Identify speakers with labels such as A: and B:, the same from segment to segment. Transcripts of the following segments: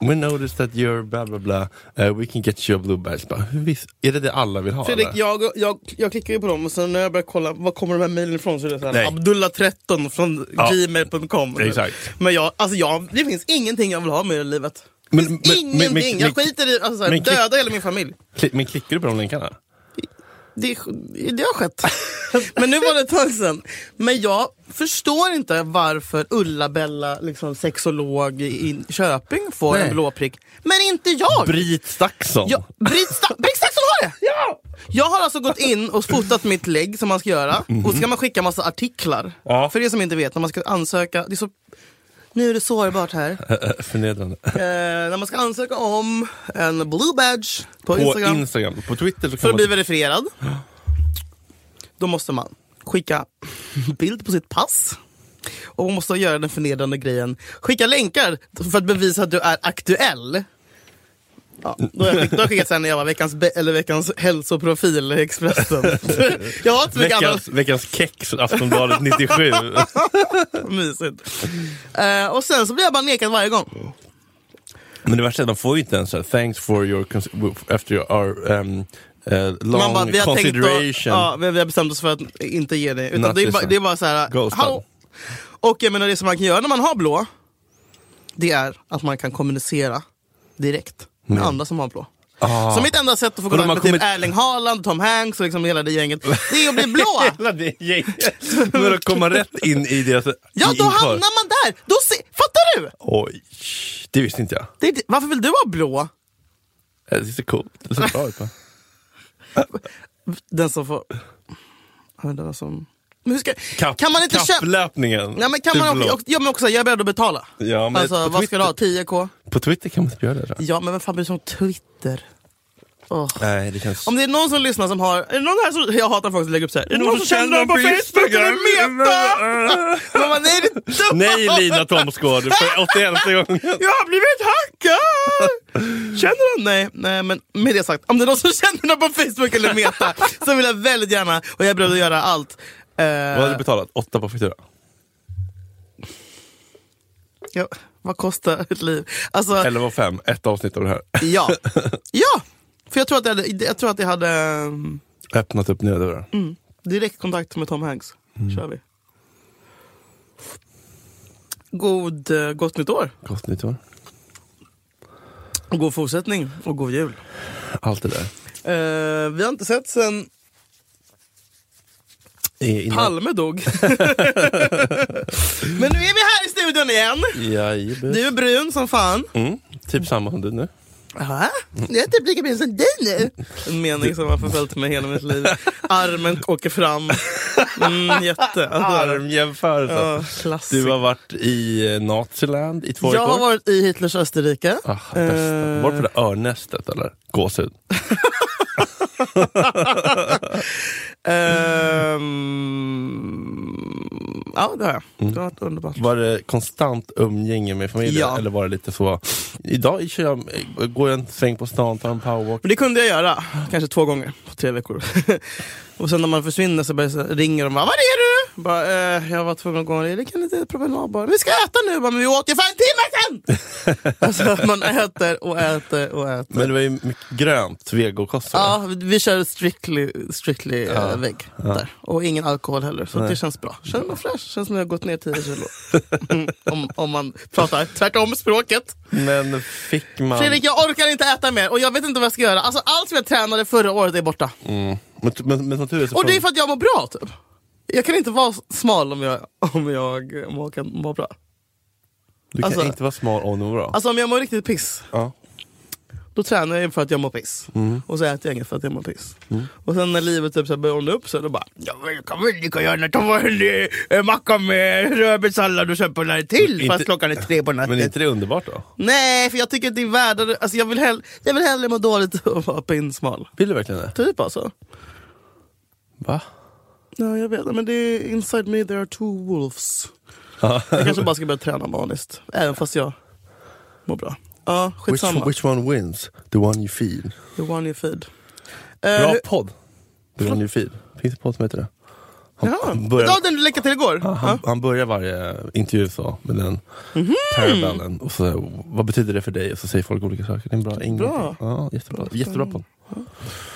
A: we noticed that you're bla bla bla. Uh, we can get you a blueberries. Bara, hur vis- är det det alla vill ha?
B: Fredrik,
A: eller?
B: jag, jag, jag klickar ju på dem och sen när jag börjar kolla var kommer de här mejlen ifrån så är det så
A: Nej.
B: här, Abdullah13 från
A: Ja.
B: gmail.com.
A: Exakt.
B: Men jag, alltså jag, det finns ingenting jag vill ha med i livet.
A: Men-
B: Men, finns
A: men- men-
B: ingenting!
A: men-
B: jag
A: men-
B: skiter i alltså, så här,
A: men-
B: döda hela min familj.
A: Kli- Men klickar du på de länkarna?
B: Det, det har skett. men nu var det ett tag sedan. Men jag förstår inte varför Ulla-Bella, liksom, sexolog i Köping, får
A: Nej.
B: en blå prick. Men inte jag!
A: Britt Staxon.
B: Ja, Britt Sta- Britt Saxon har det! Ja! Jag har alltså gått in och fotat mitt lägg som man ska göra och så ska man skicka massa artiklar.
A: Ja.
B: För er som inte vet, när man ska ansöka, det är så... nu är det sårbart här.
A: Eh, eh, Förnedrande.
B: Eh, när man ska ansöka om en blue badge på,
A: På Instagram.
B: Instagram
A: På Twitter så kan
B: för att
A: man...
B: bli verifierad, då måste man skicka bild på sitt pass. Och man måste göra den förnedrande grejen, skicka länkar för att bevisa att du är aktuell. Ja, då har jag skick- då har jag skickat sen när jag var veckans, be- eller veckans hälsoprofil i Expressen. jag har inte så mycket annat
A: Veckans, veckans kex, Aftonbladet 97.
B: mysigt. Eh, och sen så blir jag bara nekad varje gång.
A: Men det värsta är att de får ju inte ens så här, thanks for your, cons- after your our, um, eh, long
B: Man bara, vi har, tänkt att,
A: consideration.
B: ja, vi vi har bestämt oss för att inte ge det. Utan
A: Not
B: det, är
A: this
B: bara,
A: one.
B: det är bara så här,
A: Ghost
B: hallå.
A: one.
B: Och jag menar det som man kan göra när man har blå, det är att man kan kommunicera direkt med andra som har blå.
A: Mm. Ah.
B: Så mitt enda sätt att
A: de
B: få kontakt
A: har
B: med typ
A: kommit-
B: Erling Haaland, Tom Hanks och liksom hela det gänget, det är att bli blå.
A: Hela det gänget. För att komma rätt in i deras...
B: Ja,
A: i inkar.
B: då hamnar man där! Då se, fattar du?
A: Oj, det visste inte jag.
B: Det är, varför vill du ha blå?
A: Eh, Det ser coolt det ser bra ut. va?
B: Den som får... Ja, Den som... Men hur ska...
A: Kapp,
B: kan man inte köpa...
A: kapplöpningen.
B: Nej, men kan
A: Typ
B: man
A: blå.
B: också, ja, men också, jag är beredd att betala.
A: Ja, men
B: alltså,
A: på
B: vad ska
A: Twitter-
B: du ha? 10k?
A: På Twitter kan man inte göra det. tror jag.
B: Ja, men vem fan bryr sig om Twitter? Åh.
A: Nej, det känns...
B: Om det är någon som lyssnar som har... Är det någon här som, jag hatar folk som lägger upp så här. Är det någon som känner någon på
A: Känner
B: Facebook eller Meta? Man bara, nej, det är dumt.
A: Nej, Lina Thomsgård, för 81 gången.
B: Jag har blivit hackad! Känner du? Nej, nej, men med det sagt. Om det är någon som känner någon på Facebook eller Meta så vill jag väldigt gärna, och jag är beredd att göra allt. Eh,
A: Vad har du betalat? Åtta på faktura?
B: ja, vad kostar ett liv? Alltså,
A: 11 och 5, ett avsnitt av det här.
B: ja. Ja! För jag tror att jag hade, jag tror att jag hade ehm,
A: Öppnat upp nya dörrar.
B: Mm. direktkontakt med Tom Hanks. kör vi. God, eh, gott nytt år,
A: Gott nytt år.
B: och god fortsättning och god jul.
A: Allt det där.
B: Eh, vi har inte sett sen
A: Eh, Innan...
B: Palme dog. Men nu är vi här i studion igen.
A: Jajebus.
B: Du är brun som fan.
A: Mm, typ samma som du nu.
B: Va? Jag är typ lika brun som du nu. En mening som har förföljt mig hela mitt liv. Armen åker fram. Mm, jätte. Alltså,
A: Armjämförelse.
B: ja, klassiker.
A: Du har varit i eh, Naziland i två
B: Jag
A: veckor.
B: har varit i Hitlers Österrike.
A: Ah, bästa.
B: Eh,
A: Var det på det örnästet eller? Gåshud.
B: Ehm, ja, det har jag. Det har varit underbart.
A: Var det konstant umgänge med familjen?
B: Ja.
A: Eller var det lite så, idag kör jag, eh, går jag en sväng på stan, tar en powerwalk.
B: Men det kunde jag göra, kanske två gånger på tre veckor. och sen när man försvinner så, börjar, så ringer de bara, var är du? Bara, eh, jag var tvungen att gå en liten liten promenad bara. Vi ska äta nu! Bara, men vi åt ju för en timme sedan! alltså att man äter och äter och äter.
A: Men det var ju mycket grönt, vegokost. var det?
B: Ja, vi- vi kör strictly, strictly eh, vägg där. Och ingen alkohol heller, så det känns bra. Känns mig fräsch, känns som jag har gått ner 10 kilo. Mm, om, om man pratar tvärtom språket.
A: Men fick man...
B: Fredrik, jag orkar inte äta mer och jag vet inte vad jag ska göra. Alltså, allt som jag tränade förra året är borta.
A: Mm. Men, men, men som tur är så
B: Och det
A: från-
B: är för att jag mår bra typ. Jag kan inte vara smal om jag, om jag mår, kan må bra.
A: du kan
B: alltså-
A: inte vara smal och nå bra.
B: Alltså om jag mår riktigt piss,
A: ja.
B: då tränar jag för att jag mår piss.
A: Mm.
B: Och så äter jag inget för att jag mår piss. Och sen när livet typ, så här börjar ordna upp sig, då bara ja, men jag kan väl lika gärna ta en eh, macka med rödbetssallad och köpa en till
A: Inte-
B: fast klockan är tre på natten.
A: Men är inte det underbart då?
B: Nej, för jag tycker att det är värdare, alltså, jag, vill hell- jag vill hellre må dåligt och vara pinsmal.
A: Vill du verkligen det?
B: Typ alltså.
A: Va?
B: Nej, jag vet. Men det är inside me there are two wolves.
A: Ja.
B: Jag kanske bara ska börja träna maniskt. Även fast jag mår bra. Ja,
A: Which,
B: skitsamma.
A: which one wins? The one you feed.
B: The one you feed.
A: Bra
B: Eh,
A: podd. The one you feed. Finns det podd som heter det? Han,
B: Jaha,
A: han,
B: ja,
A: börjar,
B: den du länkade till igår?
A: han,
B: Ja.
A: han börjar varje intervju så med den parabellen. Och så, vad betyder det för dig? Och så säger folk olika saker. Det är en bra, ingenting.
B: Bra.
A: Ja, jättebra. jättebra podd.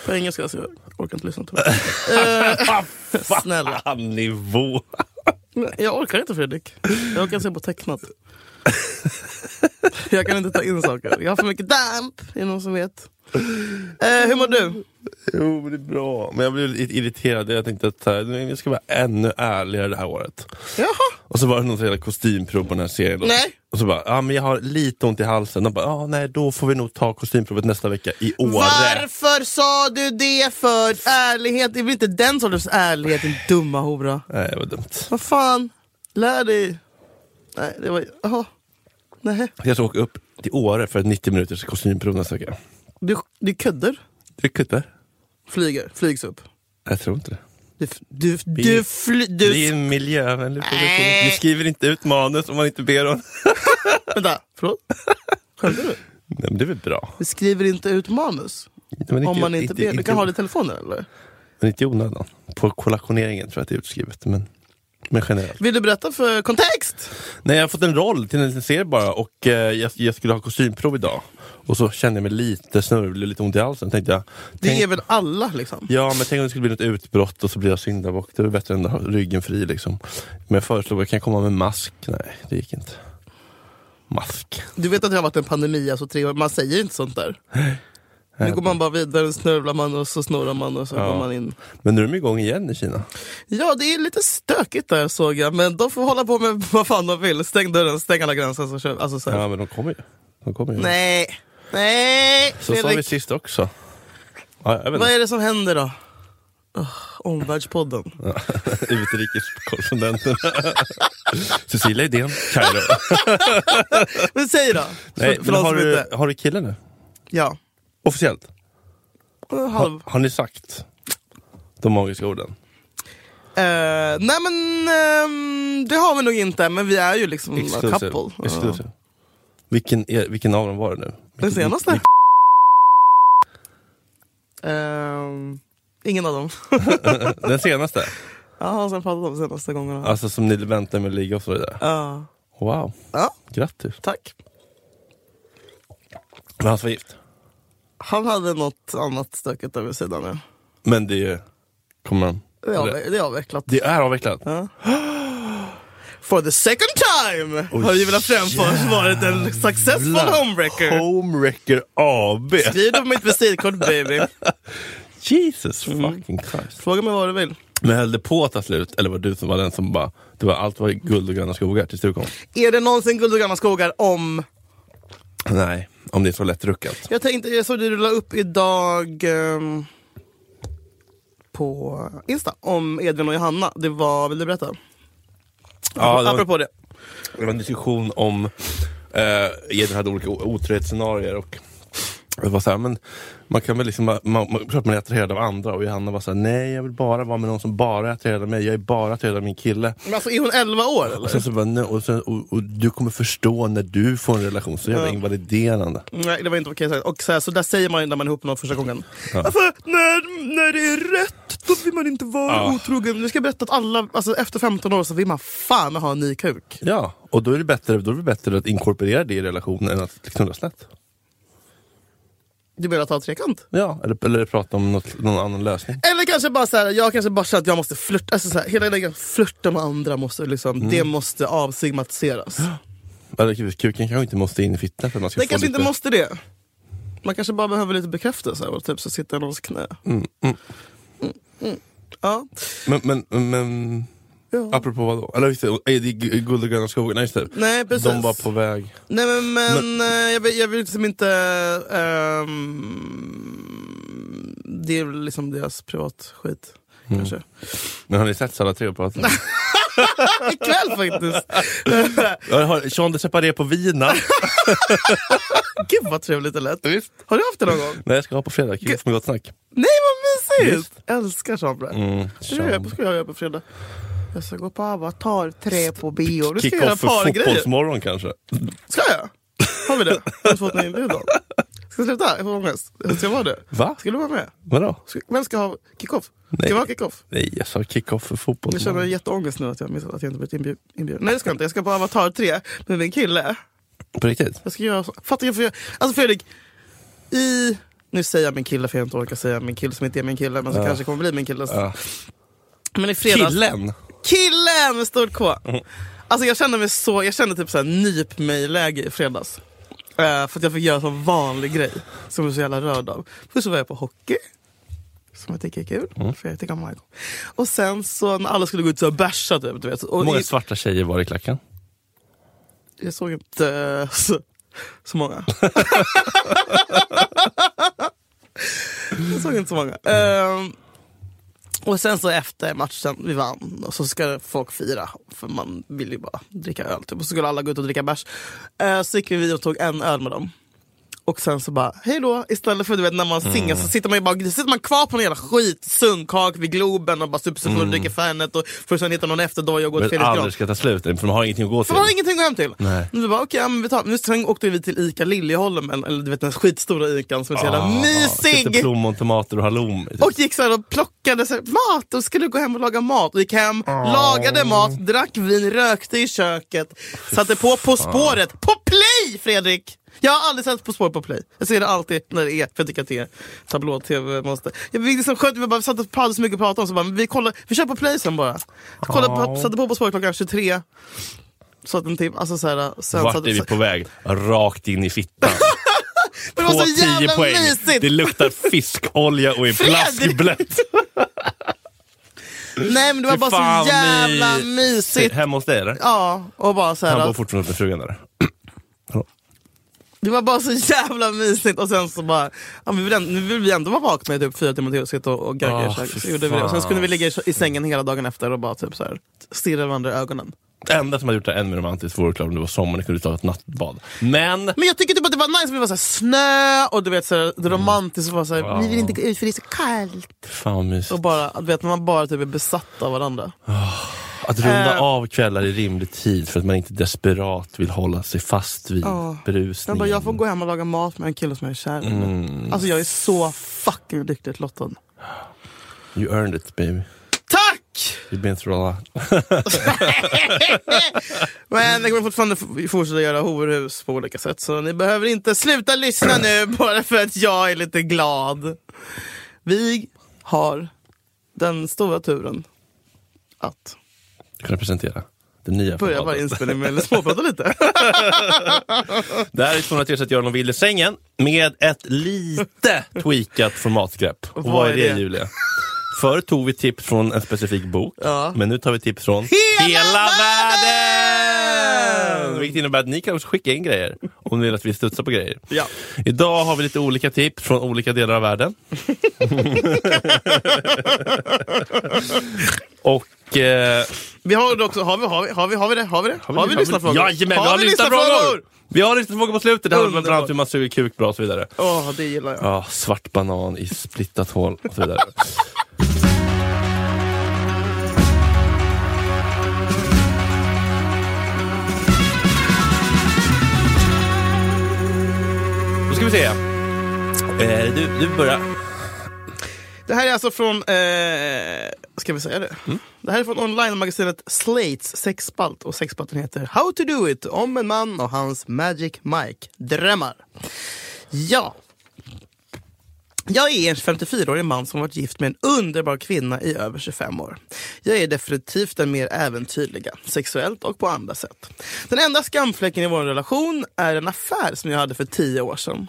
B: På engelska, så jag orkar inte lyssna på det. Eh, Snälla.
A: Ah, Fan nivå!
B: Jag orkar inte Fredrik. Jag orkar se på tecknat. Jag kan inte ta in saker. Jag har för mycket damp, är det någon som vet. Eh, hur mår du?
A: Jo, men det är bra. Men jag blev lite irriterad. Jag tänkte att så här, nu ska vara ännu ärligare det här året.
B: Jaha,
A: Och så var det någon sån jävla kostymprov på den här serien. då.
B: Nej.
A: Och så bara, ja men jag har lite ont i halsen. De bara, ja nej då får vi nog ta kostymprovet nästa vecka i Åre.
B: varför sa du det för? Ärlighet, det är väl inte den sortens ärlighet din dumma hora.
A: Nej, vad dumt.
B: Vad fan, lär dig. Nej, det var... Jaha. Nej.
A: Jag ska åka upp till Åre för ett 90 minuters kostymprov nästa vecka.
B: Du, du kuddar?
A: Dricker du
B: Flyger, flygs upp.
A: Jag tror inte det.
B: Du, f- du, f-
A: Vi-
B: du, fly, du,
A: Det är
B: f-
A: en miljövänlig produktion.
B: Nej.
A: Vi skriver inte ut manus om man inte ber om
B: vänta, förlåt? Skämtar du?
A: Nej, men det är väl bra.
B: Vi skriver inte ut manus.
A: Men
B: Om man inte ber. Du kan ha det i telefonen eller?
A: Men inte i onödan. På kollationeringen tror jag att det är utskrivet. Men, men generellt.
B: Vill du berätta för kontext?
A: Nej, jag har fått en roll till en liten serie bara och eh, jag, jag skulle ha kostymprov idag. Och så kände jag mig lite snörvlig, lite ont i halsen. Tänkte jag,
B: Det
A: tänk,
B: är väl alla liksom?
A: Ja, men tänk om det skulle bli något utbrott och så blir jag syndabock. Det är väl bättre än att ha ryggen fri liksom. Men jag föreslog att jag kan komma med mask. Nej, det gick inte. Mask.
B: Du vet att det har varit en pandemi, alltså tre år. man säger inte sånt där. Nu går man bara vidare, snörvlar man och så snurrar man och så
A: Ja.
B: går man in.
A: Men nu är de igång igen i Kina.
B: Ja, det är lite stökigt där såg jag, men de får hålla på med vad fan de vill. Stäng dörren, stäng alla gränser. Så kör, alltså, så här.
A: Ja, men de kommer ju. De kommer ju.
B: Nej, nej!
A: så sa vi
B: Fredrik.
A: sist också. Ja, jag vet
B: Vad
A: inte.
B: är det som händer då? Oh, omvärldspodden.
A: Utrikeskorrespondenten. Cecilia Idén, Kairo.
B: Men säg då!
A: Nej,
B: för, för
A: men har,
B: de som
A: du,
B: inte...
A: har du kille nu?
B: Ja.
A: Officiellt?
B: Halv.
A: Har, har ni sagt de magiska orden?
B: Mm, Eh, nej men ehm, det har vi nog inte, men vi är ju liksom a
A: Exclusive.
B: couple. Ja.
A: Exclusive. Vilken, är, vilken av dem var det nu?
B: Den
A: Vilken-
B: senaste.
A: vilken-
B: Ehm, ingen av dem.
A: Den senaste?
B: Ja, han som pratat om de senaste gångerna. Ja.
A: Alltså som ni väntar med att ligga och så där. Wow,
B: Ja,
A: grattis.
B: tack.
A: Men han var gift.
B: Han hade något annat stökigt över sidan nu.
A: Men det är- kommer han...
B: Det är, avve- det är avvecklat.
A: Det är avvecklat?
B: For the second time
A: Oj,
B: har vi velat framföra varit en successful homewrecker.
A: Homewrecker AB!
B: Skriv det på mitt visitkort baby.
A: Jesus
B: Mm.
A: fucking Christ.
B: Fråga mig vad du vill.
A: Men höll det på att ta slut? Eller var det du som var den som bara... Det var, allt var guld och gröna skogar tills du kom?
B: Är det någonsin guld och gröna skogar om
A: Nej, om det är så lättruckat.
B: Jag tänkte, jag såg det du la upp idag ehm, på Insta om Edvin och Johanna. Det var, vill du berätta?
A: Ja, det var-
B: Apropå det.
A: Det var en diskussion om eh, Edvin hade olika o- otrohetsscenarier och det var så här, men man kan väl liksom, man, man, klart man är attraherad av andra och Johanna var så här, nej jag vill bara vara med någon som bara är attraherad av mig, jag är bara attraherad av min kille.
B: Men alltså är hon 11 år
A: Och
B: eller?
A: sen så bara, nej, och, sen, och, och du kommer förstå när du får en relation, så jävla
B: Ja.
A: invaliderande.
B: Nej det var inte okej sagt. Och så, här, så där säger man ju när man är ihop med någon första gången. Alltså när, när det är rätt då vill man inte vara
A: Ja.
B: otrogen. Nu ska jag berätta att alla, alltså efter 15 år så vill man fan ha en ny kuk.
A: Ja, och då är, det bättre, då är det bättre att inkorporera det i relationen än att knulla snett.
B: Du menar att ha trekant?
A: Ja, eller, eller prata om något, någon annan lösning.
B: Eller kanske bara så här, jag kanske bara känner att jag måste flirta. Alltså så här, hela den grejen, flirta med andra måste liksom,
A: Mm.
B: det måste avstigmatiseras.
A: Eller kuken kanske inte måste in i fittan för att man ska
B: Den
A: få
B: kanske
A: lite...
B: inte måste det. Man kanske bara behöver lite bekräftelse och typ så sitter i någons knä. Mm, mm. Ja.
A: Men, men, men
B: ja.
A: Apropå vad då? Eller just det, eh, det är gu- guld och gröna skogar, nej just det.
B: Nej precis.
A: De var på väg.
B: Nej men, men, eh, jag, vill, jag vill liksom inte... ehm, det är väl liksom deras privat skit.
A: Mm.
B: Kanske.
A: Men har ni sett alla tre och pratat?
B: Ikväll faktiskt!
A: Jag har Sean de Separé på Vina.
B: Gud vad trevligt det lät. Har du haft det någon gång?
A: nej jag ska ha på fredag, kul med gott snack.
B: Nej vad mysigt!
A: Visst.
B: Älskar sånt.
A: Mm,
B: Mm, vad ska jag göra på fredag? Jag ska gå på Avatar 3 på bio. Du ska göra
A: Kick-off för
B: pargrejer.
A: fotbollsmorgon kanske?
B: Ska jag? Har vi det? Har du fått någon inbjudan? Ska jag sluta? Jag får ångest. Ska jag vara det?
A: Va?
B: Ska du vara med?
A: Vadå?
B: Ska, vem ska ha kick-off? Ska
A: Nej.
B: jag ha kick-off?
A: Nej, jag sa kick-off för
B: Jag känner
A: fotbollsmorgon.
B: jätteångest nu att jag missat att jag inte blivit inbjud- inbjuden. Nej det ska jag inte. Jag ska på Avatar 3 med min kille.
A: På riktigt?
B: Jag ska göra så. Fattar jag får göra. Alltså Fredrik. I... Nu säger jag min kille för jag inte orkar säga min kille som inte är min kille. Men som kanske kommer bli min kille.
A: Ja.
B: Men i fredags.
A: Killen!
B: Killen med stort K. Alltså jag kände mig så, jag kände typ såhär nyp mig-läge i fredags. Eh, för att jag fick göra en sån vanlig grej som jag var så jävla rörd av. Först så var jag på hockey. Som jag tycker är kul, för jag tycker om Michael. Och sen så när alla skulle gå ut så här och bärsa typ. Du vet.
A: Hur
B: Och
A: många
B: i-
A: svarta tjejer var det i klacken?
B: jag såg inte eh, så, så många. jag såg inte så många. Ehm, och sen så efter matchen, vi vann, och så ska folk fira. För man vill ju bara dricka öl typ. Och så skulle alla gå ut och dricka bärs. Eh, så gick vi och tog en öl med dem. Och sen så bara, hej då. Istället för du vet, när man singar så sitter man ju bara sitter man kvar på någon jävla skit, sunkak vid Globen och bara super, super och dricker Fernet. Och för att sen hitta någon efterdoja och gå till
A: Men
B: Felix Gran.
A: aldrig ska ta slut, för de har ingenting att gå till.
B: För man har ingenting att gå hem till.
A: Nej.
B: Nu bara, okej, ja, men vi tar, nu sen åkte vi till Ica Liljeholmen, eller du vet den skitstora Ican som är så jävla
A: Ah, Sitter
B: mysig.
A: plommon, tomater och halloumi.
B: Och gick så här och plockade så här, mat och skulle gå hem och laga mat. Och gick hem, lagade mat, drack vin, rökte i köket. Satte på På spåret på play Fredrik! Jag har aldrig sett På spåret på play. Jag ser det alltid när det är, för jag tycker att det är tablå-tv-monster. Jag fick liksom skönt, vi bara satt och pratade så mycket och pratade om så bara, men vi, kollar, vi kör på play sen bara. Så kollade på, satte på På spåret klockan 23. Så att en timme, alltså så här, sen
A: Vart
B: satt-
A: är vi på väg? Rakt in i fittan.
B: Men det
A: På
B: var så
A: 10
B: jävla
A: poäng.
B: mysigt!
A: Det luktar fiskolja och är
B: Fredrik!
A: plaskblött.
B: Nej men det var
A: Fy
B: bara
A: fan,
B: så jävla
A: ni-
B: mysigt.
A: Hemma hos dig eller?
B: Ja, och bara så här,
A: Han bor
B: att-
A: fortfarande med frugan där.
B: Det var bara så jävla mysigt och sen så bara, ja, men vi vill ändå, nu vill vi ändå vara vakna i typ fyra timmar till och sitta och, och garga
A: Ah,
B: i köket. Så
A: fy
B: gjorde vi det. Och Sen
A: fan.
B: skulle vi ligga i, i sängen hela dagen efter och bara typ så här, stirra varandra i ögonen.
A: Det enda som hade gjort det än mer romantiskt vore klart om det var sommar ni kunde ta ett nattbad. Men
B: Men jag tycker typ att det var nice, för det var så här snö och du vet så här, det romantiskt. Och bara så här,
A: Wow.
B: Vi vill inte gå ut för det är så kallt.
A: fan vad mysigt.
B: Och bara, du vet, man bara typ är besatt av varandra.
A: Att runda
B: Eh.
A: av kvällar i rimlig tid för att man inte desperat vill hålla sig fast vid
B: Ja. Jag,
A: berusningen.
B: bara, jag får gå hem och laga mat med en kille som jag är kär i.
A: Mm.
B: Alltså jag är så fucking lyckligt lottad.
A: You earned it baby.
B: Tack!
A: You've been through a lot.
B: Men jag kommer fortfarande f- fortsätta göra horhus på olika sätt. Så ni behöver inte sluta lyssna nu bara för att jag är lite glad. Vi har den stora turen att
A: Jag kunde presentera den nya
B: börja
A: podden.
B: varje inspelning med att småprata lite.
A: Det här är 231 Göran och Wille i sängen med ett lite tweakat formatgrepp. Och vad, är det, Julia? Förr tog vi tips från en specifik bok,
B: Ja.
A: men nu tar vi tips från
B: Hela
A: världen!
B: världen!
A: Vilket innebär att ni kan också skicka in grejer om ni vill att vi studsar på grejer.
B: Ja.
A: Idag har vi lite olika tips från olika delar av världen. och... Eh,
B: Vi har också, har vi, har vi, har vi, har vi det? Har vi det? Har vi lyssnarfrågor?
A: Jajamän, vi har lyssnarfrågor! Vi har lyssnarfrågor på slutet. Det handlar bland annat om
B: Underbart.
A: hur man suger kuk bra och så vidare.
B: Åh, det gillar jag.
A: Ja, svart banan i splittat hål och så vidare. Då ska vi se. Eh, du, du börjar.
B: Det här är alltså från, eh, ska vi säga det? Det här är från online-magasinet Slates sexspalt och sexspalten heter How to do it om en man och hans Magic Mike drömmar. Ja. Jag är en 54-årig man som varit gift med en underbar kvinna i över 25 år. Jag är definitivt den mer äventyrliga, sexuellt och på andra sätt. Den enda skamfläcken i vår relation är en affär som jag hade för 10 år sedan.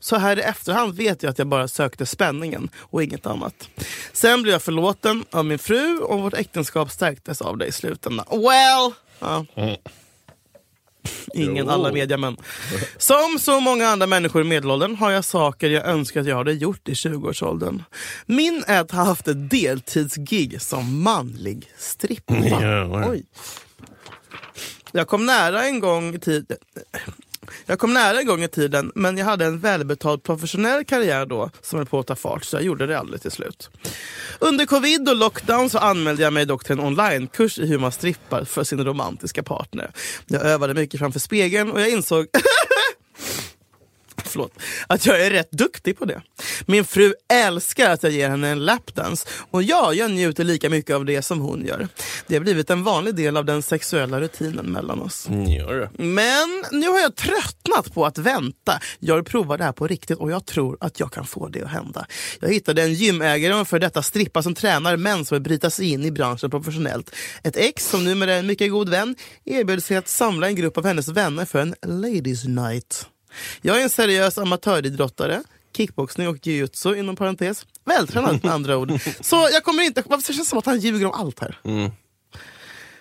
B: Så här i efterhand vet jag att jag bara sökte spänningen och inget annat. Sen blev jag förlåten av min fru och vårt äktenskap stärktes av det i slutändan. Well! Ja. Ingen
A: Jo.
B: alla mediamän. Som så många andra människor i medelåldern har jag saker jag önskar att jag hade gjort i 20-årsåldern. Min är att ha haft ett deltidsgig som manlig strippa.
A: Jävlar.
B: Oj. Jag kom nära en gång i tiden. Jag kom nära en gång i tiden, men jag hade en välbetald professionell karriär då som höll på att ta fart, så jag gjorde det aldrig till slut. Under covid och lockdown så anmälde jag mig dock till en onlinekurs i hur man strippar för sin romantiska partner. Jag övade mycket framför spegeln och jag insåg Förlåt. Att jag är rätt duktig på det. Min fru älskar att jag ger henne en lapdance och ja, jag njuter lika mycket av det som hon gör. Det har blivit en vanlig del av den sexuella rutinen mellan oss.
A: Mm, Gör det.
B: Men nu har jag tröttnat på att vänta. Jag provar det här på riktigt och jag tror att jag kan få det att hända. Jag hittade en gymägare och en för detta strippa som tränar män som vill bryta sig in i branschen professionellt. Ett ex som numera är en mycket god vän erbjöd sig att samla en grupp av hennes vänner för en ladies night. Jag är en seriös amatöridrottare. Kickboxning och jujutsu inom parentes. Vältränad med andra ord. Så jag kommer inte... Varför känns det som att han ljuger om allt här?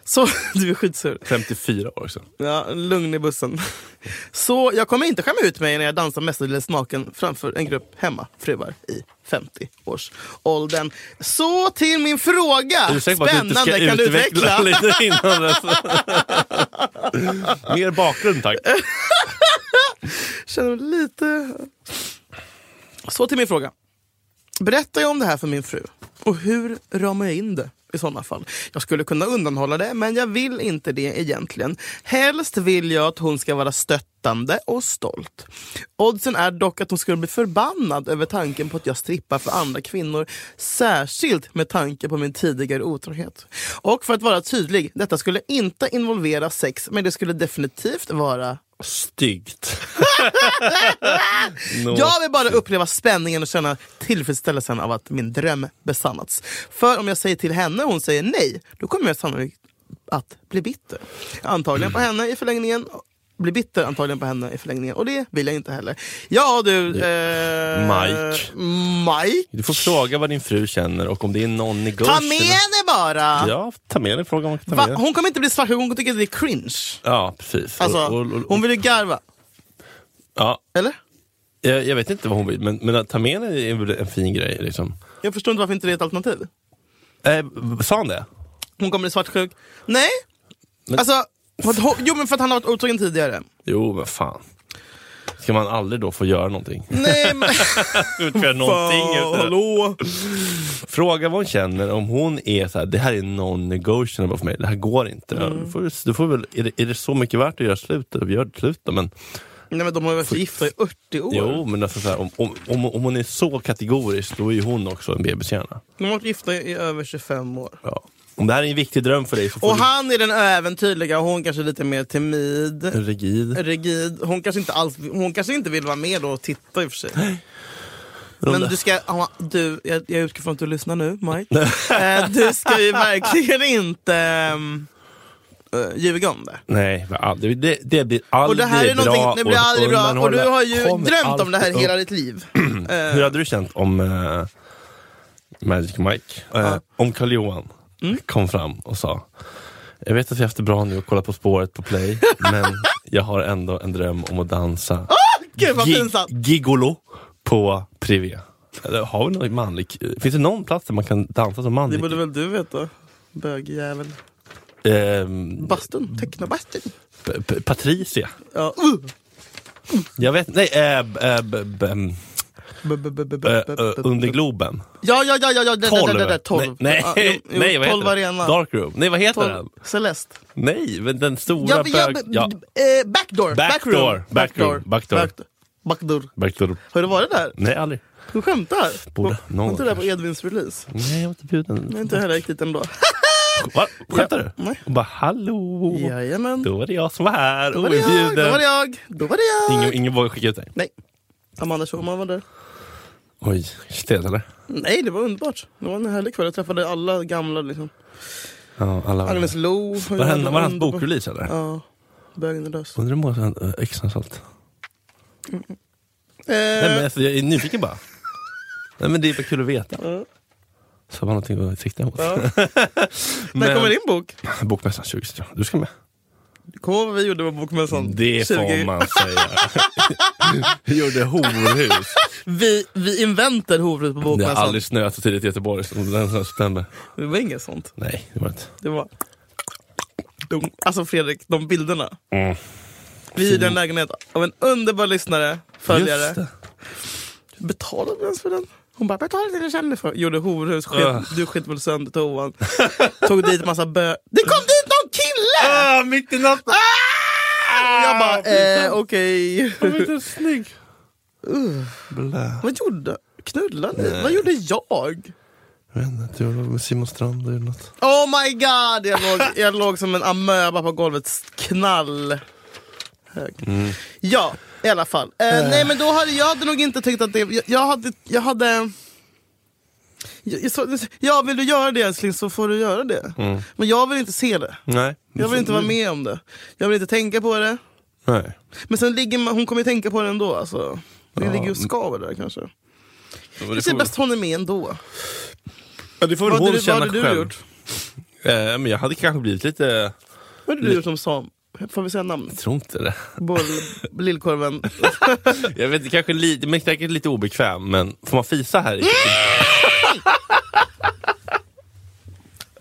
B: Så du är skitsur.
A: 54 år också.
B: Ja, lugn i bussen. Så jag kommer inte skämma ut mig när jag dansar mestadels naken framför en grupp hemmafruar i 50-årsåldern. Så till min fråga!
A: Är du säker på att du
B: Ah, Spännande,
A: inte ska
B: kan du
A: utveckla
B: utveckla?
A: lite innan dess? Mer bakgrund tack.
B: Känner mig lite... Så till min fråga. Berättar jag om det här för min fru? Och hur ramar jag in det i sådana fall? Jag skulle kunna undanhålla det, men jag vill inte det egentligen. Helst vill jag att hon ska vara stöttande och stolt. Oddsen är dock att hon skulle bli förbannad över tanken på att jag strippar för andra kvinnor. Särskilt med tanke på min tidigare otrohet. Och för att vara tydlig, detta skulle inte involvera sex, men det skulle definitivt vara
A: Styggt. Nå.
B: Jag vill bara uppleva spänningen och känna tillfredsställelsen av att min dröm besannats. För om jag säger till henne och hon säger nej, då kommer jag sannolikt att bli bitter. Antagligen på henne i förlängningen. Bli bitter antagligen på henne i förlängningen. Och det vill jag inte heller. Ja du... Eh,
A: Mike.
B: Mike.
A: Du får fråga vad din fru känner och om det är någon i
B: Ta
A: gulf
B: med
A: eller-
B: henne bara!
A: Ja, ta med dig fråga om hon kan ta
B: Va?
A: med dig.
B: Hon kommer inte bli svartsjuk, hon tycker att det är cringe.
A: Ja, precis.
B: Alltså,
A: Och- och- och-
B: hon vill ju garva.
A: ja,
B: Eller?
A: jag, jag vet inte vad hon vill, men, men att ta med henne är väl en fin grej. Liksom.
B: Jag förstår inte varför inte det är ett alternativ.
A: Eh, sa han det?
B: Hon kommer bli svartsjuk. Nej!
A: Men-
B: Alltså, för att, hon- jo men för att han har varit otrogen tidigare.
A: Jo, men fan. Ska man aldrig då få göra någonting?
B: Nej men...
A: Utföra någonting
B: Fan,
A: utan-
B: hallå!
A: Fråga vad hon känner, om hon är så här, det här är non-negotiable för mig, det här går inte. Ja,
B: Mm.
A: Du får, du- du får väl, är, det, är det så mycket värt att göra slut, då gör det slut då. Men,
B: Nej men de har ju varit gifta i 80 år.
A: jo, men alltså, så här, om, om, om, om hon är så kategorisk, då är ju hon också en bebiskärna.
B: De har varit gifta i över 25 år.
A: Ja. Om det här är en viktig dröm för dig så får
B: Och han är den äventyrliga och hon kanske är lite mer timid.
A: du rigid.
B: Rigid. Hon kanske inte alls hon kanske inte vill vara med då och titta i och för sig. Men du ska, ja, du, jag, jag utgår från att du lyssnar nu Mike. Eh, du ska ju verkligen inte ehm, eh, ljuga om det.
A: Nej, men aldrig. det, det blir aldrig
B: Och det här är
A: bra.
B: någonting, det blir
A: att
B: aldrig bra och du
A: undanhålla.
B: har ju
A: Kommer
B: drömt om det här
A: alltid
B: hela
A: upp.
B: ditt liv.
A: Hur hade du känt om eh, Magic Mike, eh, om karl johan
B: Mm.
A: kom fram och sa Jag vet att vi har haft det bra nu och kollat På spåret på play, men jag har ändå en dröm om att dansa
B: Gud vad
A: Gi-
B: pinsamt!
A: gigolo på privé. Eller, har vi någon manlig, finns det någon plats där man kan dansa som
B: Det
A: manlig?
B: borde väl du veta? Bögjävel.
A: Ehm,
B: Bastun, technobastun.
A: P- P- Patricia?
B: Ja. Uh.
A: Jag vet nej, äh, äh, b- b- ähm,
B: B- b- b- b-
A: äh,
B: b-
A: äh,
B: b- b-
A: Under Globen?
B: Ja, ja, ja, ja, ja, det- det- det- det- det- tolv.
A: Nej,
B: Ja,
A: nej,
B: jo, jo,
A: nej vad
B: tolv
A: heter den?
B: arena.
A: Darkroom? Nej, vad heter den?
B: Tolv. Celeste.
A: Nej, men den stora
B: Ja, men jag-
A: bög...
B: b-
A: Ja,
B: b- eh, backdoor.
A: Backdoor,
B: Backroom.
A: backroom, backdoor.
B: Backdoor. Backdoor.
A: backdoor.
B: Har du varit där?
A: Nej, aldrig.
B: Du skämtar?
A: Borde.
B: Var-
A: Någon
B: Var inte du där på
A: kanske.
B: Edvins release?
A: Nej, jag var inte bjuden.
B: Jag är inte heller riktigt ändå.
A: Va? Skämtar du?
B: Nej.
A: Och bara, hallå!
B: Jajamän. Då
A: Då var det jag som var här,
B: var det jag, då var det
A: objuden.
B: jag, då var det jag.
A: Ingen, ingen vågar skicka ut dig.
B: Nej. Amanda Schulman var där.
A: Oj, shit eller?
B: Nej, det var underbart. Det var en härlig kväll. Jag träffade alla gamla. Liksom.
A: Ja, alla var
B: Agnes
A: det.
B: Lo.
A: Var det hans- var det hans bokrelease eller?
B: Ja. Bögen är lös.
A: Undrar hur många som har eh, extra sålt? Nej, men
B: Eh,
A: alltså, jag är nyfiken bara. Nej, men det är bara kul att veta.
B: Ja.
A: Så man har någonting att sikta mot.
B: ja. När
A: Men-
B: kommer din bok?
A: Bokmässan 2023. Du ska med.
B: Kommer du ihåg vad vi gjorde på bokmässan?
A: Det
B: 20.
A: får man säga. Gjorde horhus.
B: Vi, vi inventade hovet på
A: Det har
B: bokmässan.
A: aldrig snöat så tidigt i Göteborg som den här september.
B: Det var inget sånt.
A: Nej, det var inte.
B: Det var... De, alltså Fredrik, de bilderna.
A: Mm.
B: Vi hyrde en lägenhet av en underbar lyssnare,
A: Just
B: följare.
A: det.
B: Betalade vi ens för den? Hon bara, betalade det du kände för. Gjorde horhus, sket,
A: Ugh.
B: du sket väl sönder toan. Tog dit massa bö... Det kom dit någon kille!
A: Ah, mitt i natten!
B: Och jag bara, eh, okej.
A: Kom inte ens snygg. Blä.
B: Vad gjorde... Knullade ni? Vad gjorde jag?
A: Jag vet inte, du var med Simon Strand eller något.
B: Oh my god! Jag låg, jag låg som en amöba på golvet. Knall. Hög. Ja, i alla fall. Eh, Nej men då hade jag hade nog inte tänkt att det... Jag, jag hade... Jag hade jag, jag, så- ja, vill du göra det älskling så får du göra det. Men jag vill inte se det.
A: Nej.
B: Jag vill inte vara med om det. Jag vill inte tänka på det.
A: Nej.
B: Men sen ligger man, hon kommer ju tänka på det ändå. Alltså. Det
A: Ja.
B: ligger ju och skaver där kanske.
A: Det
B: Det är bäst hon är med ändå.
A: ja, det får
B: Vad
A: väl
B: hade,
A: hon
B: du- vad
A: känna
B: hade du
A: själv.
B: gjort?
A: Eh, men jag hade kanske blivit lite...
B: Vad hade du gjort som sam? Får vi säga namn?
A: Jag tror inte det.
B: Boll, lillkorven.
A: Jag vet inte, kanske lite, men säkert lite obekväm, men får man fisa här i?
B: Mm!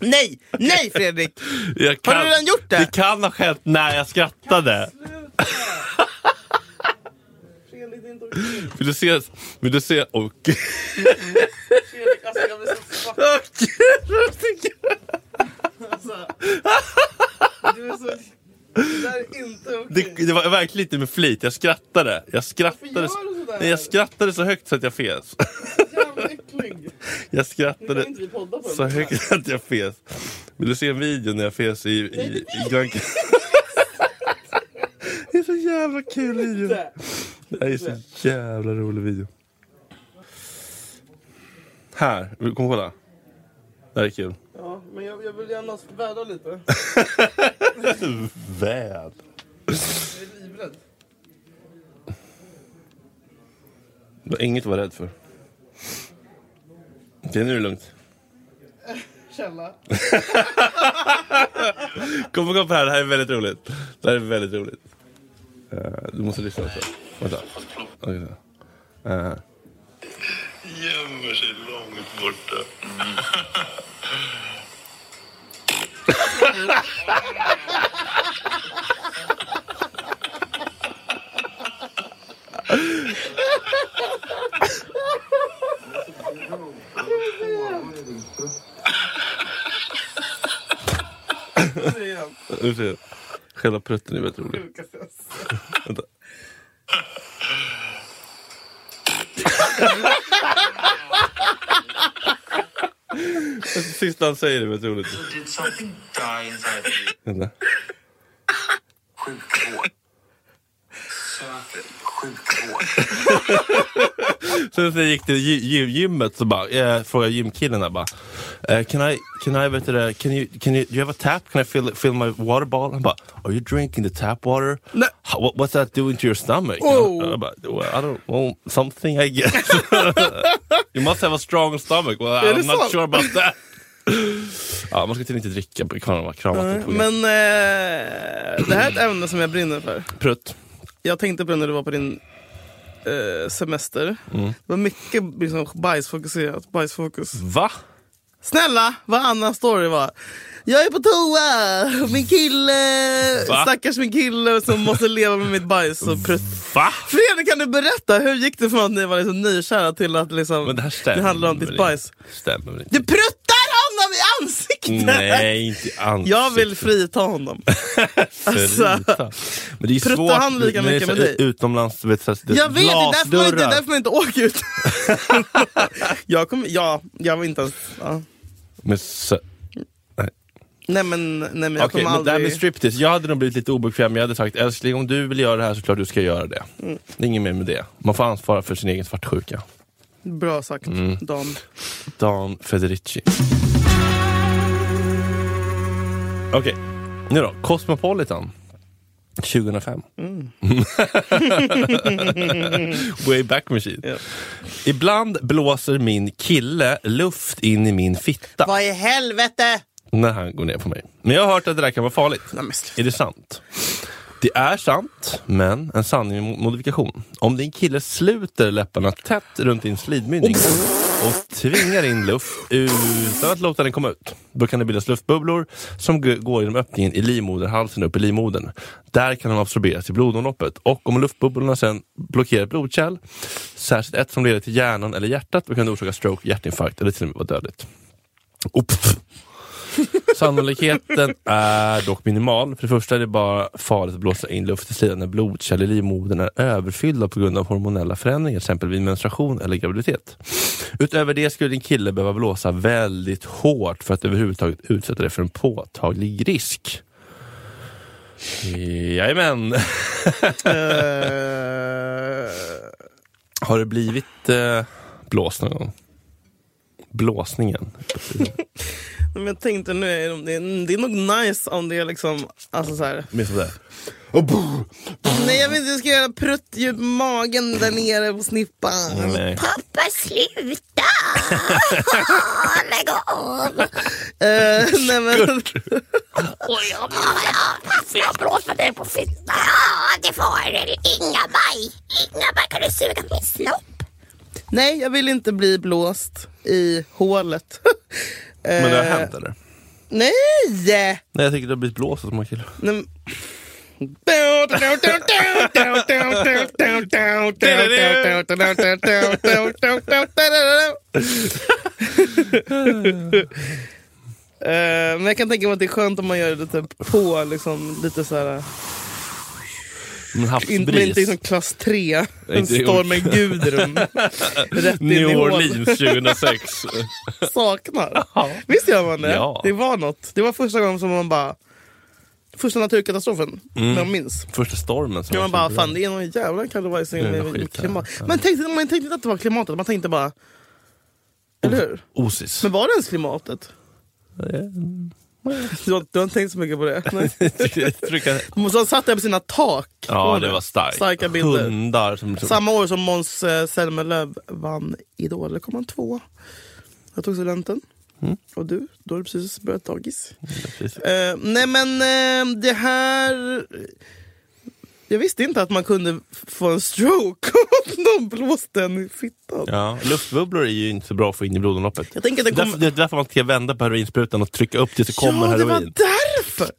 B: Nej! Nej Fredrik!
A: Jag
B: Har du redan gjort det?
A: Det kan ha skett när jag skrattade.
B: Fredrik, det är inte
A: Vill du se? Vill du se? Och...
B: Fredrik, alltså jag blir så svart. Alltså. Du är så... Det där är inte okej.
A: Det, det var verkligen inte med flit, jag skrattade. Jag
B: Varför
A: skrattade,
B: gör du sådär?
A: Nej, jag skrattade så högt så att jag fes.
B: Jävla äcklig.
A: Jag
B: Nu kan
A: skrattade
B: inte vi podda på
A: så
B: den.
A: högt att jag fes. Vill du se en video när jag fes i, i, i Gran Canaria? Det är så jävla kul video. Det är så jävla rolig video. Här, vill- kom och kolla. Det här är kul.
B: Ja, men jag, jag vill gärna vädra lite.
A: Väl.
B: Jag är livrädd.
A: Du har inget att vara rädd för. Det är nu lugnt.
B: Källa.
A: Kom och kom här, det här är väldigt roligt. Det här är väldigt roligt. Eh, du måste lyssna också. Vänta. Okej, så. Eh,
C: gömmer sig långt borta.
B: Det är den
A: nu ser jag. Själva prutten är väldigt rolig.
B: sjukaste jag sett.
A: Vänta. Sista han säger är väldigt roligt.
C: Did something die inside of you?
A: Vänta.
C: Sjukvård. Sök sjukvård.
A: Sen så gick till gy- gy- gymmet så bara, eh, frågade gymkillen där bara eh, Can I, can I, vet du det, can you, can you, do you have a tap? Can I fill, fill my water bottle? Han bara, are you drinking the tap water?
B: Nej.
A: How, what, what's that doing to your stomach?
B: Oh.
A: Jag bara, well, I don't, well, something I guess. you must have a strong stomach. Well,
B: det
A: I'm not
B: sant?
A: sure about that. ja, man ska tydligen inte dricka på kramat. va? kramat är på
B: Men eh, det här är ett ämne som jag brinner för.
A: prutt.
B: Jag tänkte på det när du var på din eh, semester. Det var mycket liksom, bajsfokuserat. Bajsfokus.
A: Va?
B: Snälla, vad Annas story var. Jag är på toa, min kille,
A: Va?
B: stackars min kille som måste leva med mitt bajs och prutt.
A: Va?
B: Fredrik, kan du berätta hur gick det från att ni var liksom nykära till att liksom,
A: Men det här stämmer
B: handlar om
A: väl
B: ditt
A: inte.
B: bajs?
A: Stämmer väl inte?
B: Du pruttar honom i ansiktet!
A: Nej, inte i ansiktet.
B: Jag vill frita honom.
A: Alltså, men det är
B: pruttar
A: svårt
B: han lika
A: när det är
B: mycket
A: så
B: med dig?
A: Utomlands, du vet, så här, det är
B: Jag vet, det är därför man inte, det är
A: glasdörrar.
B: därför man inte åker ut. jag kommer, ja, jag var inte ens... Ja.
A: Men så-
B: Nej men, nej, men jag
A: Okej,
B: kommer
A: men det här med
B: aldrig...
A: striptease. Jag hade nog blivit lite obekväm, jag hade sagt älskling om du vill göra det här så klart du ska göra det.
B: Mm.
A: Det är inget mer med det. Man får ansvara för sin egen svartsjuka.
B: Bra sagt,
A: Mm.
B: Dan.
A: Dan Federici. Okej, nu då. Cosmopolitan. 2005. Way back machine.
B: Ja.
A: Ibland blåser min kille luft in i min fitta
B: Vad i helvete!
A: när han går ner på mig. Men jag har hört att det där kan vara farligt.
B: Nej, men sluta.
A: Är det sant? Det är sant, men en sanning med modifikation. Om din kille sluter läpparna tätt runt din slidmynning och tvingar in luft utan att låta den komma ut. Då kan det bildas luftbubblor som g- går genom öppningen i livmoderhalsen upp i livmodern. Där kan de absorberas i blodomloppet och om luftbubblorna sen blockerar ett blodkärl, särskilt ett som leder till hjärnan eller hjärtat, då kan det orsaka stroke, hjärtinfarkt eller till och med vara dödligt. Oops. Sannolikheten är dock minimal. För det första är det bara farligt att blåsa in luft i slidan när blodkärl i livmodern är överfyllda på grund av hormonella förändringar, till exempel vid menstruation eller graviditet. Utöver det skulle din kille behöva blåsa väldigt hårt för att överhuvudtaget utsätta dig för en påtaglig risk. Jajamän!
B: Eh,
A: Har det blivit eh, blåst någon gång? Blåsningen.
B: men jag tänkte nu, är de- det är, det är nog nice om det är liksom, alltså så här.
A: Minns du det?
B: Nej jag vet inte, jag ska göra pruttdjup i magen där nere på snippan.
A: Mm, Nej.
D: Pappa sluta! Lägg av!
B: Eh, nej, men,
D: Oj, jag Får jag blåsa dig på fittan? Det får du. Inga-Maj! Inga-Maj, kan du suga min snopp?
B: nej jag vill inte bli blåst i hålet. Eh,
A: Men det har hänt eller?
B: Nej!
A: Nej, jag tycker det har blivit blåst som en kille.
B: nej men- Eh, Men jag kan tänka mig att det är skönt om man gör det typ på liksom, lite såhär,
A: Men
B: in, men
A: havsbris.
B: inte liksom klass 3, en
A: inte-
B: stormen Gudrun. Rätt in i
A: New
B: hålet.
A: Orleans 2006.
B: saknar. Visst gör man det?
A: Ja.
B: Det var något. Det var första gången som man bara... Första naturkatastrofen, jag minns.
A: Första stormen. som
B: Ja, man
A: var
B: bara,
A: så
B: fan
A: bra.
B: det är någon jävla kalabajsning
A: Det Mm. är någon
B: med, med
A: skit här.
B: klimat.
A: Ja.
B: Man tänkte, man tänkte inte att det var klimatet, man tänkte bara... Eller hur?
A: Osis.
B: Men var det ens klimatet? Du har, du har inte tänkt så mycket på det? Nej.
A: Trycka-
B: Men så satt där på sina tak.
A: ja, det var starkt.
B: Starka bilder.
A: Hundar som... som-
B: Samma år som Måns eh, Zelmerlöw vann Idol, då kom han två. Jag tog studenten.
A: Mm.
B: Och du, då har du precis börjat dagis.
A: precis.
B: Eh, nej men eh, det här... Jag visste inte att man kunde f- få en stroke om någon blåste en i fittan.
A: Ja, luftbubblor är ju inte så bra att få in i blodomloppet.
B: Jag tänker att det
A: Därför-
B: kommer...
A: Det är därför man ska vända på heroinsprutan och trycka upp tills det kommer
B: ja, det
A: heroin.
B: var därför!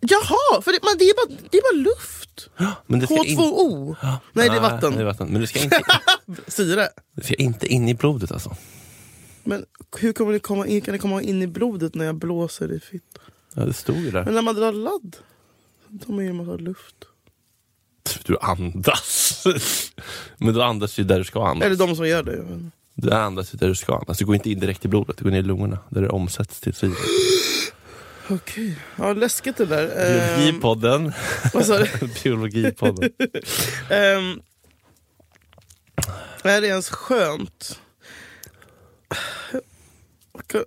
B: Jaha, för det, men det, är bara, det är bara luft.
A: Men det ska in-
B: H2O. Nej, det är vatten.
A: Nej, det är vatten. Men det ska, inte,
B: Syre.
A: det ska inte in i blodet alltså.
B: Men hur kommer det komma in, kan det komma in i blodet när jag blåser i fitta?
A: Ja, det stod ju där.
B: Men när man drar ladd, då tar man ju en massa luft.
A: Du andas. Men du andas ju där du ska andas.
B: Eller de som gör det. jag vet inte.
A: Du andas ju där du ska andas. Du går inte in direkt i blodet, du går ner i lungorna där det omsätts till syre.
B: Okej. Ja, läskigt det där. Ehm,
A: Biologipodden.
B: vad sa du?
A: Biologipodden.
B: Ehm, är det ens skönt? Jag ska